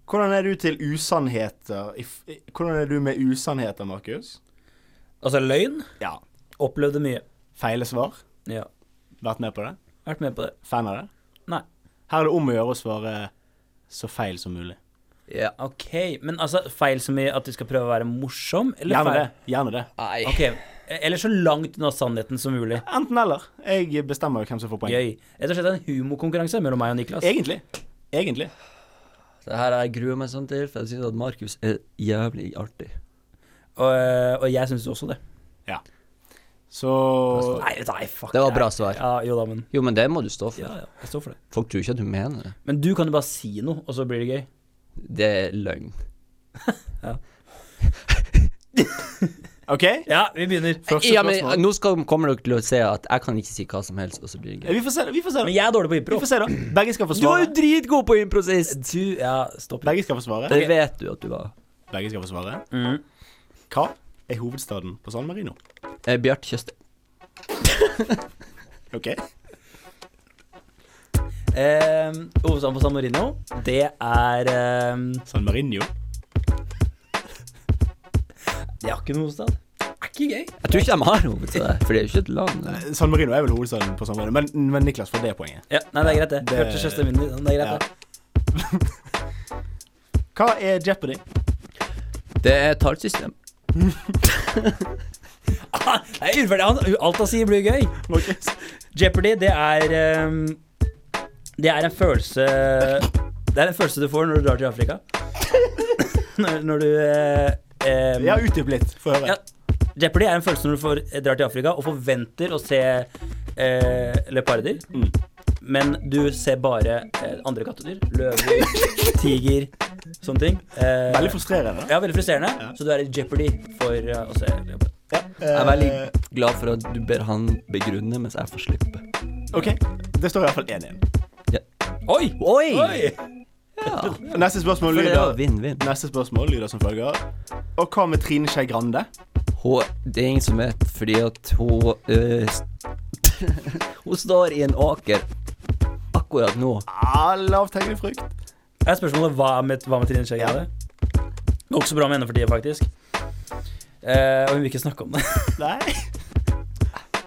[SPEAKER 1] Hvordan er du til usannheter? I f- i- Hvordan er du med usannheter, Markus?
[SPEAKER 3] Altså løgn.
[SPEAKER 1] Ja.
[SPEAKER 3] Opplevde mye.
[SPEAKER 1] Feile svar?
[SPEAKER 3] Ja.
[SPEAKER 1] Vært med på det?
[SPEAKER 3] Vært med på det.
[SPEAKER 1] Fan av det?
[SPEAKER 3] Nei.
[SPEAKER 1] Her er det om å gjøre å svare så feil som mulig.
[SPEAKER 2] Ja.
[SPEAKER 3] OK. Men altså, feil som i at du skal prøve å være morsom, eller
[SPEAKER 1] Gjerne det.
[SPEAKER 3] feil?
[SPEAKER 1] Gjerne det.
[SPEAKER 2] Nei.
[SPEAKER 3] Ok. Eller så langt unna sannheten som mulig.
[SPEAKER 1] Enten eller. Jeg bestemmer jo hvem som får poeng.
[SPEAKER 3] Gøy. Rett og slett en humorkonkurranse mellom meg og Niklas.
[SPEAKER 1] Egentlig. Egentlig.
[SPEAKER 2] Det her jeg gruer meg sånn til, for jeg syns at Markus er jævlig artig.
[SPEAKER 3] Og, eh, og jeg syns også det.
[SPEAKER 1] Så
[SPEAKER 3] Nei, nei, fuck.
[SPEAKER 2] Det var bra
[SPEAKER 3] nei.
[SPEAKER 2] svar.
[SPEAKER 3] Ja, jo da, men
[SPEAKER 2] Jo, men det må du stå for.
[SPEAKER 3] ja, ja, jeg står for det.
[SPEAKER 2] Folk tror ikke at du mener det.
[SPEAKER 3] Men du kan jo bare si noe, og så blir det gøy.
[SPEAKER 2] Det er løgn.
[SPEAKER 1] OK?
[SPEAKER 3] Ja, vi begynner.
[SPEAKER 1] Første
[SPEAKER 2] Ja, men
[SPEAKER 1] spørsmål.
[SPEAKER 2] nå skal, kommer dere til å se at jeg kan ikke si hva som helst, og så blir det gøy.
[SPEAKER 1] Vi får se, da. Vi får se,
[SPEAKER 3] Men
[SPEAKER 1] da.
[SPEAKER 3] jeg er dårlig på
[SPEAKER 1] Vi
[SPEAKER 3] impro.
[SPEAKER 1] får se da. Begge skal få
[SPEAKER 2] Du var
[SPEAKER 1] svare.
[SPEAKER 2] jo dritgod på impro sist!
[SPEAKER 3] Du, ja, stopp.
[SPEAKER 1] Begge skal få svare.
[SPEAKER 2] Det vet du at du var.
[SPEAKER 1] Begge skal få svare.
[SPEAKER 2] Mm.
[SPEAKER 1] Hva er hovedstaden på San Marino?
[SPEAKER 2] Eh, Bjarte Tjøstheim.
[SPEAKER 1] OK?
[SPEAKER 3] Eh, Hovedstaden på San Marino, det er eh,
[SPEAKER 1] San Marino.
[SPEAKER 3] Det er ikke noe hovedstad. Det er ikke gøy.
[SPEAKER 2] Jeg tror ikke de har hovedstad, for det er jo ikke et land. det.
[SPEAKER 1] San Marino er vel hovedstaden på San Marino, men, men Niklas får det poenget.
[SPEAKER 3] Ja, nei, det er greit, det.
[SPEAKER 1] Det-
[SPEAKER 3] Hørte søsteren min det. er greit,
[SPEAKER 1] Ja.
[SPEAKER 3] det.
[SPEAKER 1] Hva er Jeopardy?
[SPEAKER 2] Det er tallsystem.
[SPEAKER 3] Ah, det er urettferdig. Han- Alt han sier, blir gøy.
[SPEAKER 1] Markus?
[SPEAKER 3] Jeopardy, det er ehm, Det er en følelse Det er en følelse du får når du drar til Afrika. Når, når du eh, ehm,
[SPEAKER 1] Ja, utdyp litt. Få høre.
[SPEAKER 3] Ja. Jeopardy er en følelse når du får, eh, drar til Afrika og forventer å se eh, leoparder.
[SPEAKER 1] Mm.
[SPEAKER 3] Men du ser bare eh, andre kattedyr. Løver, tiger, sånne ting. Eh,
[SPEAKER 1] Veldig frustrerende.
[SPEAKER 3] ja, veldig frustrerende.
[SPEAKER 1] Ja.
[SPEAKER 3] Så du er i Jeopardy for eh, å se leopard.
[SPEAKER 2] Jeg er veldig
[SPEAKER 1] Eh,
[SPEAKER 2] glad for at du ber han begrunne, mens jeg får slippe.
[SPEAKER 1] OK, det står i hvert fall 1-1.
[SPEAKER 3] Oi!
[SPEAKER 2] Oi!
[SPEAKER 3] Oi!
[SPEAKER 2] Ja.
[SPEAKER 1] Neste spørsmål
[SPEAKER 2] For det er jo
[SPEAKER 1] lyder
[SPEAKER 2] vinn-vinn.
[SPEAKER 1] Neste spørsmål lyder som følger. Og hva med Trine Skei Grande?
[SPEAKER 2] Hun- Det er ingen som vet, fordi at hun eh, st- Hun står i en åker akkurat nå.
[SPEAKER 1] Ah, Lavthengende frukt.
[SPEAKER 3] Er spørsmålet hva med, hva med Trine Skei Grande? Det går ikke så bra med henne for tida, faktisk. Eh, og hun vil ikke snakke om det.
[SPEAKER 1] Nei.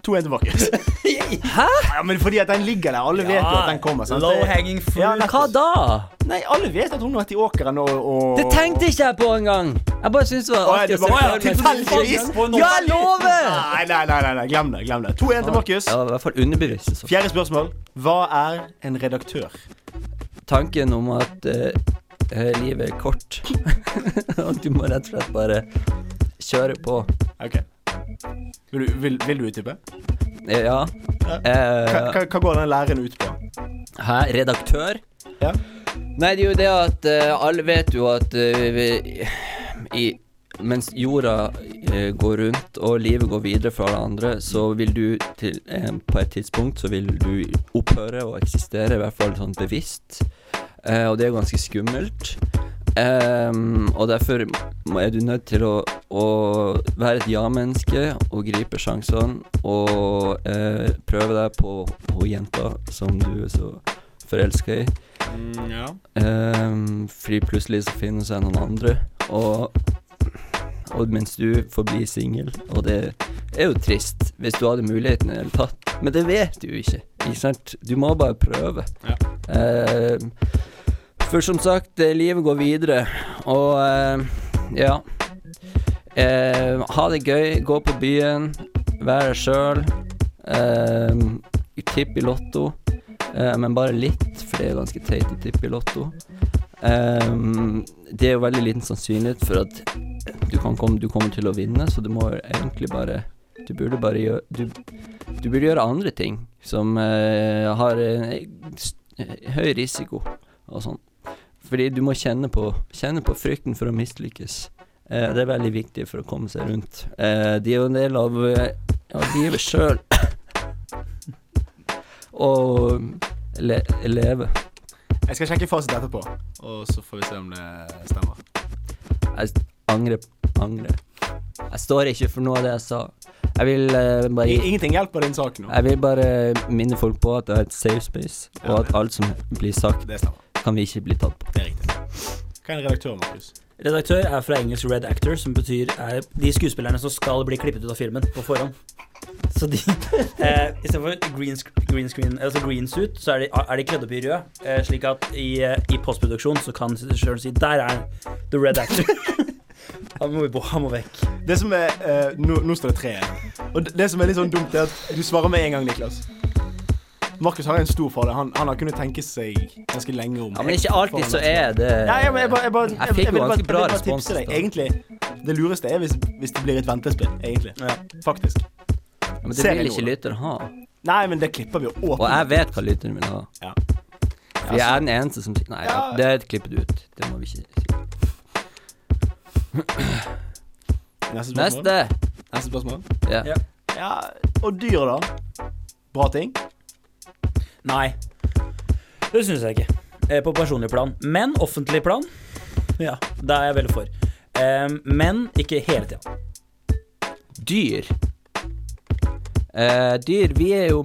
[SPEAKER 1] 2-1 til Markus. Hæ? Ja, men fordi at den ligger der. Alle vet jo at den kommer. sant?
[SPEAKER 3] Low
[SPEAKER 1] Det-
[SPEAKER 3] hanging fruit.
[SPEAKER 1] Ja,
[SPEAKER 2] Hva da?
[SPEAKER 1] Nei, alle vet at hun har vært i åkeren og, og
[SPEAKER 2] Det tenkte ikke jeg på engang! Jeg bare syntes det var
[SPEAKER 1] Å, ja,
[SPEAKER 2] artig
[SPEAKER 1] du bare-
[SPEAKER 2] å se for meg.
[SPEAKER 1] Tilfeldigvis!
[SPEAKER 3] på en
[SPEAKER 2] Ja, jeg lover!
[SPEAKER 1] Nei, nei, nei, nei, nei, glem det. glem det 2-1 til Markus.
[SPEAKER 2] Ja, i hvert fall underbevisst. så.
[SPEAKER 1] Fjerde spørsmål. Hva er en redaktør?
[SPEAKER 2] Tanken om at eh, eh, livet er kort, at du må rett og slett bare kjøre på.
[SPEAKER 1] Ok Vil du, vil, vil du utdype?
[SPEAKER 2] Eh, Ja.
[SPEAKER 1] Hva,
[SPEAKER 2] Eh,
[SPEAKER 1] hva, hva går den læren ut på?
[SPEAKER 2] hæ? Eh, Redaktør?
[SPEAKER 1] Ja.
[SPEAKER 2] Nei, det er jo det at eh, alle vet jo at eh, vi, i, mens jorda eh, går rundt og livet går videre for alle andre, så vil du til, eh, på et tidspunkt så vil du opphøre å eksistere, i hvert fall sånn bevisst. Eh, og det er jo ganske skummelt. Ehm, og derfor må- er du nødt til å, å være et ja-menneske og gripe sjansene og eh, prøve deg på hun jenta som du er så forelska i.
[SPEAKER 1] ja.
[SPEAKER 2] Ehm, fordi plutselig så finner hun seg noen andre, og, og mens du forblir singel. Og det er jo trist, hvis du hadde muligheten i det hele tatt. Men det vet du jo ikke, ikke sant? Du må bare prøve.
[SPEAKER 1] Ja.
[SPEAKER 2] Ehm, for som sagt, eh, livet går videre, og ehm, ja. Ehm, ha det gøy, gå på byen, vær deg sjøl. tipp i Lotto. Eh, men bare litt, for det er ganske teit å tippe i Lotto. Ehm, det er jo veldig liten sannsynlighet for at du, kan komme, du kommer til å vinne, så du må jo egentlig bare Du burde bare gjøre Du, du burde gjøre andre ting som eh, har eh, s- eh, høy risiko og sånn. Fordi du må kjenne på, kjenne på frykten for å mislykkes. Eh, det er veldig viktig for å komme seg rundt. Eh, de er jo en del av, eh, av livet sjøl. Og le leve.
[SPEAKER 1] Jeg skal sjekke fasit etterpå, og så får vi se om det stemmer.
[SPEAKER 2] Jeg s- angrer. Angrer. Jeg står ikke for noe av det jeg sa. Jeg vil eh,
[SPEAKER 1] I,
[SPEAKER 2] bare
[SPEAKER 1] ingenting hjelper din sak nå.
[SPEAKER 2] jeg vil bare minne folk på at det er et safe space, og
[SPEAKER 1] Ja.
[SPEAKER 2] at alt som blir sagt,
[SPEAKER 1] Det stemmer.
[SPEAKER 2] kan vi ikke bli tatt på.
[SPEAKER 1] Det er riktig. Hva er en redaktør, Markus?
[SPEAKER 3] Redaktør er fra engelsk Red Actor, som betyr er de skuespillerne som skal bli klippet ut av filmen på forhånd. Så de eh, Istedenfor green, sc- green screen, altså green suit, så er de, er de kledd opp i rød. Eh, slik at i, eh, i postproduksjon så kan regissøren si Der er the red actor. han, må, vi bo- han må vekk.
[SPEAKER 1] Det som er eh, nå, nå står det tre igjen. Og det, det som er litt sånn dumt, er at du svarer med en gang, Niklas. Markus har jo en stor fordel. Han, han har kunnet tenke seg ganske lenge om
[SPEAKER 2] Ja, men ikke alltid så er det
[SPEAKER 1] Nei, jeg, jeg, bare- jeg, bare-
[SPEAKER 2] Jeg fikk jo
[SPEAKER 1] vil bare-
[SPEAKER 2] ganske bra
[SPEAKER 1] vil bare
[SPEAKER 2] respons
[SPEAKER 1] tipse deg.
[SPEAKER 2] da.
[SPEAKER 1] Egentlig, det lureste er hvis, hvis det blir et ventespill, egentlig. Faktisk.
[SPEAKER 2] Ja, Men det
[SPEAKER 1] Serien
[SPEAKER 2] vil
[SPEAKER 1] gjorde
[SPEAKER 2] ikke lytteren ha.
[SPEAKER 1] Nei, men det klipper vi jo åpent.
[SPEAKER 2] Og jeg vet hva lytteren vil ha.
[SPEAKER 1] Ja.
[SPEAKER 2] For jeg er den eneste som Nei, ja,
[SPEAKER 1] Ja.
[SPEAKER 2] det klipper du ut. Det må vi ikke si.
[SPEAKER 1] Neste spørsmål.
[SPEAKER 2] Neste!
[SPEAKER 1] Neste spørsmål.
[SPEAKER 2] Ja.
[SPEAKER 3] Ja.
[SPEAKER 1] Ja, og dyr, da? Bra ting?
[SPEAKER 3] Nei. Det syns jeg ikke. Eh, på personlig plan. Men offentlig plan, ja, det er jeg veldig for. Eh, men ikke hele tida.
[SPEAKER 2] Dyr. Eh, dyr Vi er jo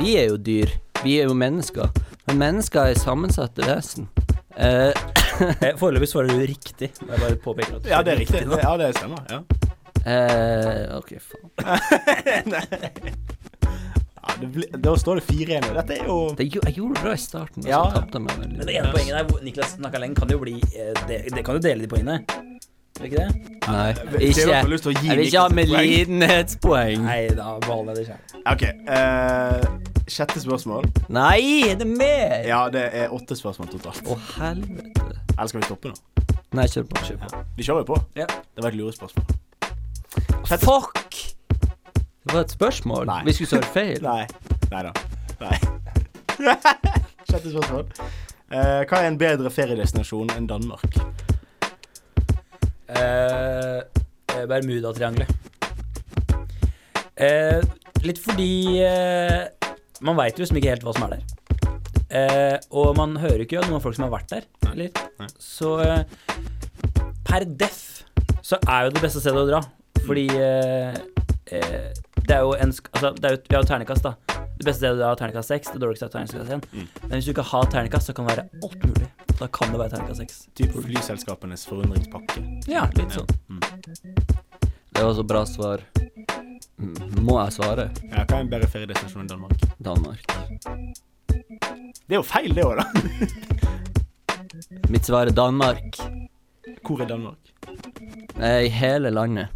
[SPEAKER 2] Vi er jo dyr. Vi er jo mennesker. Men mennesker er sammensatte vesen. Eh,
[SPEAKER 3] Eh, foreløpig svarer du riktig. Jeg bare påpeker at du
[SPEAKER 1] Ja, det er
[SPEAKER 3] svarer
[SPEAKER 1] riktig. Ja, det stemmer. Ja.
[SPEAKER 2] eh, OK, faen.
[SPEAKER 1] Ja, det blir- da står det fire igjen. Dette er jo
[SPEAKER 2] Det, gjo- jeg gjorde det bra i starten, og så
[SPEAKER 1] Ja.
[SPEAKER 2] tapte jeg meg veldig.
[SPEAKER 3] Men det ene poenget der, hvor Niklas snakka lenge, kan jo bli eh, det, det kan jo dele de poengene. Er det ikke det?
[SPEAKER 1] Mm.
[SPEAKER 2] Nei,
[SPEAKER 1] Ser
[SPEAKER 2] ikke.
[SPEAKER 1] du at du har lyst til å gi
[SPEAKER 2] Jeg vil ikke ha
[SPEAKER 1] Niklas et
[SPEAKER 2] med
[SPEAKER 1] poeng?
[SPEAKER 2] lidenhetspoeng.
[SPEAKER 3] Nei, da beholder jeg det sjøl.
[SPEAKER 1] OK. eh, sjette spørsmål.
[SPEAKER 2] Nei, er det mer? Å,
[SPEAKER 1] Ja, det er åtte spørsmål totalt.
[SPEAKER 2] helvete.
[SPEAKER 1] Eller skal vi stoppe nå?
[SPEAKER 2] Nei, kjør på. Kjør på.
[SPEAKER 1] Vi kjører jo på.
[SPEAKER 3] Ja.
[SPEAKER 1] Det var et lurespørsmål.
[SPEAKER 2] Fuck! Det var et spørsmål.
[SPEAKER 1] Nei.
[SPEAKER 2] Vi skulle svare feil.
[SPEAKER 1] Nei. Nei da. Nei. Sjette spørsmål. Eh, hva er en bedre feriedestinasjon enn Danmark?
[SPEAKER 3] Eh, Bermudatriangelet. Eh, litt fordi eh, Man veit jo liksom ikke helt hva som er der. Eh, og man hører jo ikke noen folk som har vært der. Eller?
[SPEAKER 1] Nei.
[SPEAKER 3] Så eh, per deff så er jo det beste stedet å dra. Fordi eh, eh, det er jo en sk- altså, det er jo, Vi har jo ternekast, da. Det beste stedet å dra er ternekast 6. Det dårligste er ternekast 1.
[SPEAKER 1] Mm.
[SPEAKER 3] Men hvis du ikke har ternekast, så kan det være alt mulig. Da kan det være ternekast 6.
[SPEAKER 1] Typ flyselskapenes forundringspakke.
[SPEAKER 3] Ja, litt sånn.
[SPEAKER 2] Det var så bra svar. Mm, Må jeg svare?
[SPEAKER 1] Ja, hva er en bedre feriedestinasjon enn Danmark?
[SPEAKER 2] Danmark.
[SPEAKER 1] Det er jo feil, det òg, da.
[SPEAKER 2] Mitt svar er Danmark.
[SPEAKER 1] Hvor er Danmark?
[SPEAKER 2] Eh, I hele landet.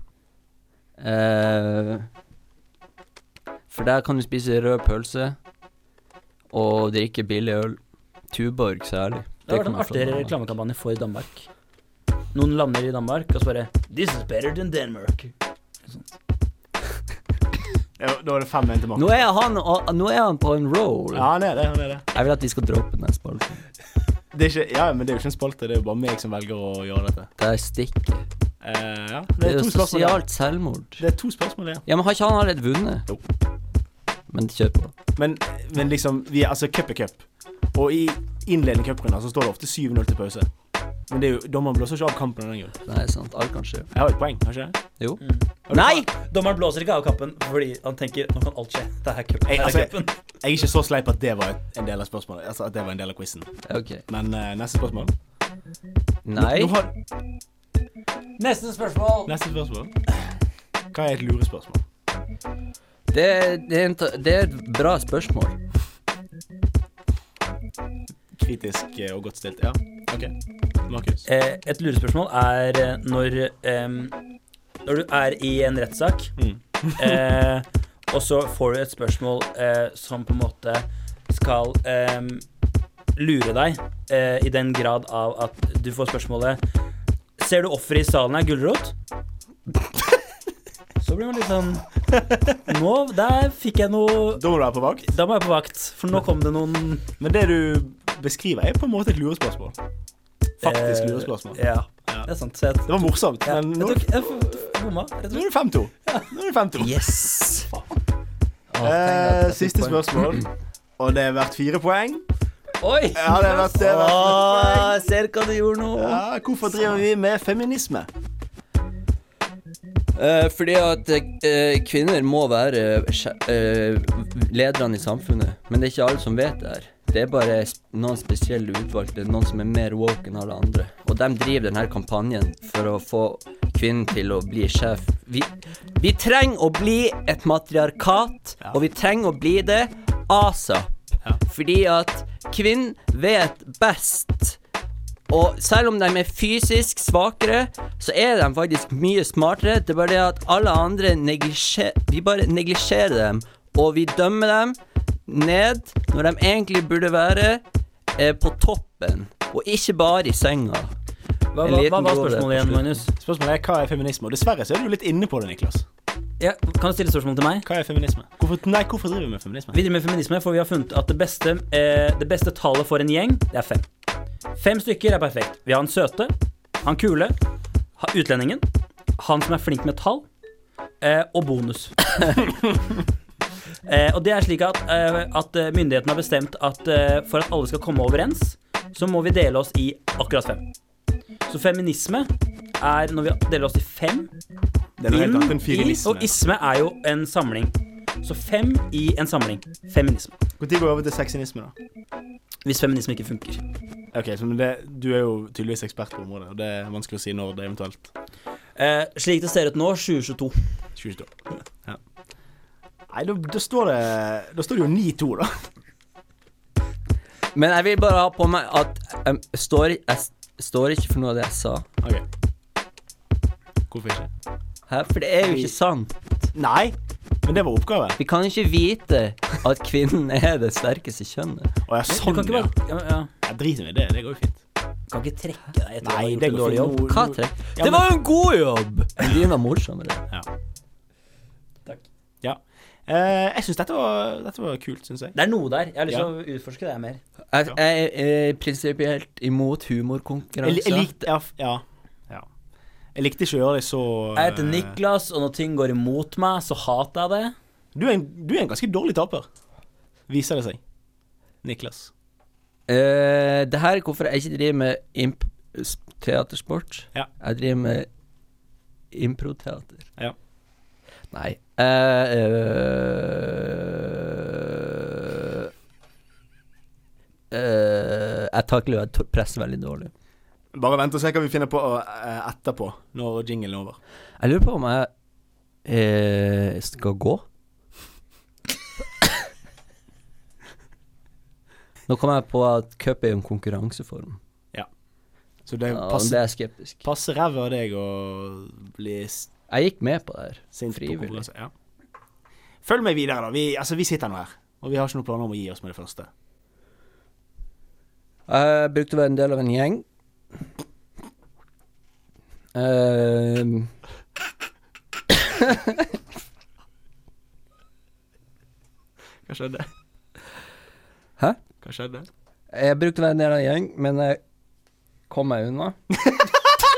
[SPEAKER 2] Eh, for der kan du spise rød pølse og drikke billig øl. Tuborg særlig.
[SPEAKER 3] Det har vært
[SPEAKER 2] kommer
[SPEAKER 3] en
[SPEAKER 2] fra
[SPEAKER 3] artig
[SPEAKER 2] Danmark.
[SPEAKER 3] reklamekampanje for Danmark. Noen lander i Danmark og så bare This is better than Denmark.
[SPEAKER 1] Ja, Da er det fem igjen til
[SPEAKER 2] Nå
[SPEAKER 1] Markus.
[SPEAKER 2] er, han, nå er han på en roll.
[SPEAKER 1] Ja, han er det. Han er det.
[SPEAKER 2] Jeg vil at vi skal droppe den spalten.
[SPEAKER 1] Det er ikke, ja, men det er jo ikke en spalte. Det er jo bare meg som velger å gjøre dette.
[SPEAKER 2] Det er stikk.
[SPEAKER 1] Eh, ja.
[SPEAKER 2] Det
[SPEAKER 1] det,
[SPEAKER 2] er
[SPEAKER 1] er
[SPEAKER 2] jo
[SPEAKER 1] to spørsmål, igjen.
[SPEAKER 2] sosialt selvmord.
[SPEAKER 1] det er to spørsmål igjen.
[SPEAKER 2] Ja, men har ikke han allerede vunnet?
[SPEAKER 1] Jo.
[SPEAKER 2] Men kjør på.
[SPEAKER 1] Men, men liksom, vi er, altså, cup er cup. Og i innledende cuprunder så står det ofte 7-0 til pause. Men det er jo, dommeren blåser ikke av kampen av den grunn.
[SPEAKER 2] Nei, sant. Alt kan skje.
[SPEAKER 1] Jeg har et poeng, har ikke jeg?
[SPEAKER 2] Jo. Nei!
[SPEAKER 3] Dommeren blåser ikke av kappen fordi han tenker nå kan alt skje. Det er cupen.
[SPEAKER 1] Jeg,
[SPEAKER 3] Det
[SPEAKER 1] altså,
[SPEAKER 3] er
[SPEAKER 1] jeg,
[SPEAKER 3] cupen.
[SPEAKER 1] jeg er ikke så sleip at det var et- en del av spørsmålet. Altså, at det var en del av quizen.
[SPEAKER 2] OK.
[SPEAKER 1] Men eh, neste spørsmål.
[SPEAKER 2] Nei.
[SPEAKER 1] Nå har,
[SPEAKER 3] Neste spørsmål.
[SPEAKER 1] neste spørsmål. Hva er et lurespørsmål?
[SPEAKER 2] Det, er- det, er en ta- det er et bra spørsmål.
[SPEAKER 1] Kritisk eh, og godt stilt. Ja, OK. Markus.
[SPEAKER 3] Eh, et lurespørsmål er eh, når ehm, Når du er i en rettssak,
[SPEAKER 1] Mm.
[SPEAKER 3] eh, og så får du et spørsmål eh, som på en måte skal ehm, lure deg, eh, i den grad av at du får spørsmålet Ser du offeret i salen er gulrot? Så blir man litt sånn Nå, der fikk jeg noe
[SPEAKER 1] Da må du være på vakt.
[SPEAKER 3] Da må jeg på vakt, for nå kom det noen
[SPEAKER 1] Men det du beskriver, er på en måte et lurespørsmål. Faktisk
[SPEAKER 3] eh,
[SPEAKER 1] lurespørsmål.
[SPEAKER 3] Ja,
[SPEAKER 1] Ja.
[SPEAKER 3] det er sant. Så jeg,
[SPEAKER 1] Det var morsomt,
[SPEAKER 3] ja,
[SPEAKER 1] men
[SPEAKER 3] jeg
[SPEAKER 1] nå,
[SPEAKER 3] tok, jeg f- bomma. rett og slett.
[SPEAKER 1] nå er det 5-2. Nå er det 5-2.
[SPEAKER 2] Yes!
[SPEAKER 1] Eh, siste spørsmål. Og det er verdt fire poeng.
[SPEAKER 2] Oi!
[SPEAKER 1] Ja, det er verdt det. er verdt fire poeng.
[SPEAKER 2] Åh, ser hva du gjorde nå.
[SPEAKER 1] Ja, hvorfor driver vi med feminisme?
[SPEAKER 2] Eh, fordi at eh, kvinner må være eh, sje- eh, lederne i samfunnet, men det er ikke alle som vet det her. Det er bare sp- noen spesielle utvalgte, noen som er mer woke enn alle andre. Og de driver denne kampanjen for å få kvinnen til å bli sjef. Vi, vi trenger å bli et matriarkat, og vi trenger å bli det asap. Fordi at kvinnen vet best. Og selv om de er fysisk svakere, så er de faktisk mye smartere. Det er bare det at alle andre neglisje- Vi bare neglisjerer dem, og vi dømmer dem ned når de egentlig burde være eh, på toppen, og ikke bare i senga.
[SPEAKER 3] Hva,
[SPEAKER 2] En
[SPEAKER 3] hva,
[SPEAKER 2] liten
[SPEAKER 3] hva
[SPEAKER 2] grov der
[SPEAKER 3] var
[SPEAKER 2] på
[SPEAKER 3] spørsmålet igjen,
[SPEAKER 2] slutten.
[SPEAKER 3] Magnus?
[SPEAKER 1] Spørsmålet er hva er feminisme? Og dessverre så er du litt inne på det, Niklas.
[SPEAKER 3] Ja, kan du stille spørsmål til meg?
[SPEAKER 1] Hva er feminisme? Hvorfor, nei, hvorfor driver vi med feminisme?
[SPEAKER 3] Videre med feminisme, for vi har funnet at det beste, eh, det beste tallet for en gjeng, det er fem. Fem stykker er perfekt. Vi har han søte, han kule, ha- utlendingen, han som er flink med tall, eh, og bonus. eh, og det er slik at, eh, at eh, myndighetene har bestemt at eh, for at alle skal komme overens, så må vi dele oss i akkurat fem. Så feminisme er når vi deler oss i fem.
[SPEAKER 1] Det er noe helt
[SPEAKER 3] Inn
[SPEAKER 1] annet enn
[SPEAKER 3] i,
[SPEAKER 1] feminisme.
[SPEAKER 3] og isme er jo en samling. Så fem i en samling. Feminisme.
[SPEAKER 1] Når går vi over til sexinisme, da?
[SPEAKER 3] Hvis feminisme ikke funker.
[SPEAKER 1] Ok, så men det, Du er jo tydeligvis ekspert på området, og det er vanskelig å si når det eventuelt
[SPEAKER 3] Eh, slik det ser ut nå, 2022.
[SPEAKER 1] 22. Ja. Nei, da, da står det Da står det jo 9-2, da.
[SPEAKER 2] Men jeg vil bare ha på meg at em, står, jeg s- står ikke for noe av det jeg sa.
[SPEAKER 1] Ok. Hvorfor ikke?
[SPEAKER 2] Hæ? For det er jo ikke sant.
[SPEAKER 1] Nei, men det var oppgave.
[SPEAKER 2] Vi kan ikke vite at kvinnen er det sterkeste kjønnet.
[SPEAKER 1] Å ja, sånn,
[SPEAKER 3] du kan ikke
[SPEAKER 1] ja.
[SPEAKER 3] bare ja, ja.
[SPEAKER 1] Jeg driter i det. Det går jo fint.
[SPEAKER 3] Kan ikke trekke deg etter å ha
[SPEAKER 1] Nei,
[SPEAKER 3] gjort
[SPEAKER 1] det
[SPEAKER 3] en
[SPEAKER 1] går
[SPEAKER 3] dårlig jobb.
[SPEAKER 1] fint. Nå-
[SPEAKER 2] Hva
[SPEAKER 1] nå-
[SPEAKER 2] trekk?
[SPEAKER 1] Ja,
[SPEAKER 2] Det
[SPEAKER 1] men-
[SPEAKER 2] var jo en god jobb! Men din var morsommere.
[SPEAKER 1] Ja. Eh, jeg syns dette, var- dette var kult, syns jeg.
[SPEAKER 3] Det er noe der. Jeg har lyst
[SPEAKER 1] Ja.
[SPEAKER 3] til å utforske det her mer.
[SPEAKER 2] Jeg, jeg er prinsipielt imot
[SPEAKER 1] Jeg, jeg
[SPEAKER 2] humorkonkurranser.
[SPEAKER 1] likte ja, f- ja. ja. Jeg likte ikke å gjøre deg så
[SPEAKER 3] Jeg heter
[SPEAKER 1] eh,
[SPEAKER 3] Niklas, og når ting går imot meg, så hater jeg det.
[SPEAKER 1] eh, Du er, en, du er en ganske dårlig taper, viser det seg. Niklas.
[SPEAKER 2] Eh, det her er hvorfor jeg ikke driver med imp s- teatersport.
[SPEAKER 1] Ja.
[SPEAKER 2] Jeg driver med improteater.
[SPEAKER 1] Ja.
[SPEAKER 2] Nei eh, eh, eh, Jeg takler jo jeg to- press veldig dårlig.
[SPEAKER 1] Bare vent og se hva vi finner på eh, etterpå, når jinglen er over.
[SPEAKER 2] Jeg lurer på om jeg eh, skal gå. Nå kom jeg på at cup er jo en konkurranseform.
[SPEAKER 1] Så det
[SPEAKER 2] Ja,
[SPEAKER 1] passer,
[SPEAKER 2] det er skeptisk.
[SPEAKER 1] passer ræva av deg å bli s-
[SPEAKER 2] Jeg gikk med på det her.
[SPEAKER 1] sint altså. på
[SPEAKER 2] Frivillig.
[SPEAKER 1] konkurranse. Ja. Følg meg videre, da. Vi, altså, vi sitter nå her. Og vi har ikke noen planer om å gi oss med det første.
[SPEAKER 2] Jeg brukte å være en del av en gjeng. Ehm.
[SPEAKER 1] Hva skjedde?
[SPEAKER 2] Hæ?
[SPEAKER 1] Hva skjedde?
[SPEAKER 2] jeg brukte å være en del av en gjeng, men jeg kom meg unna.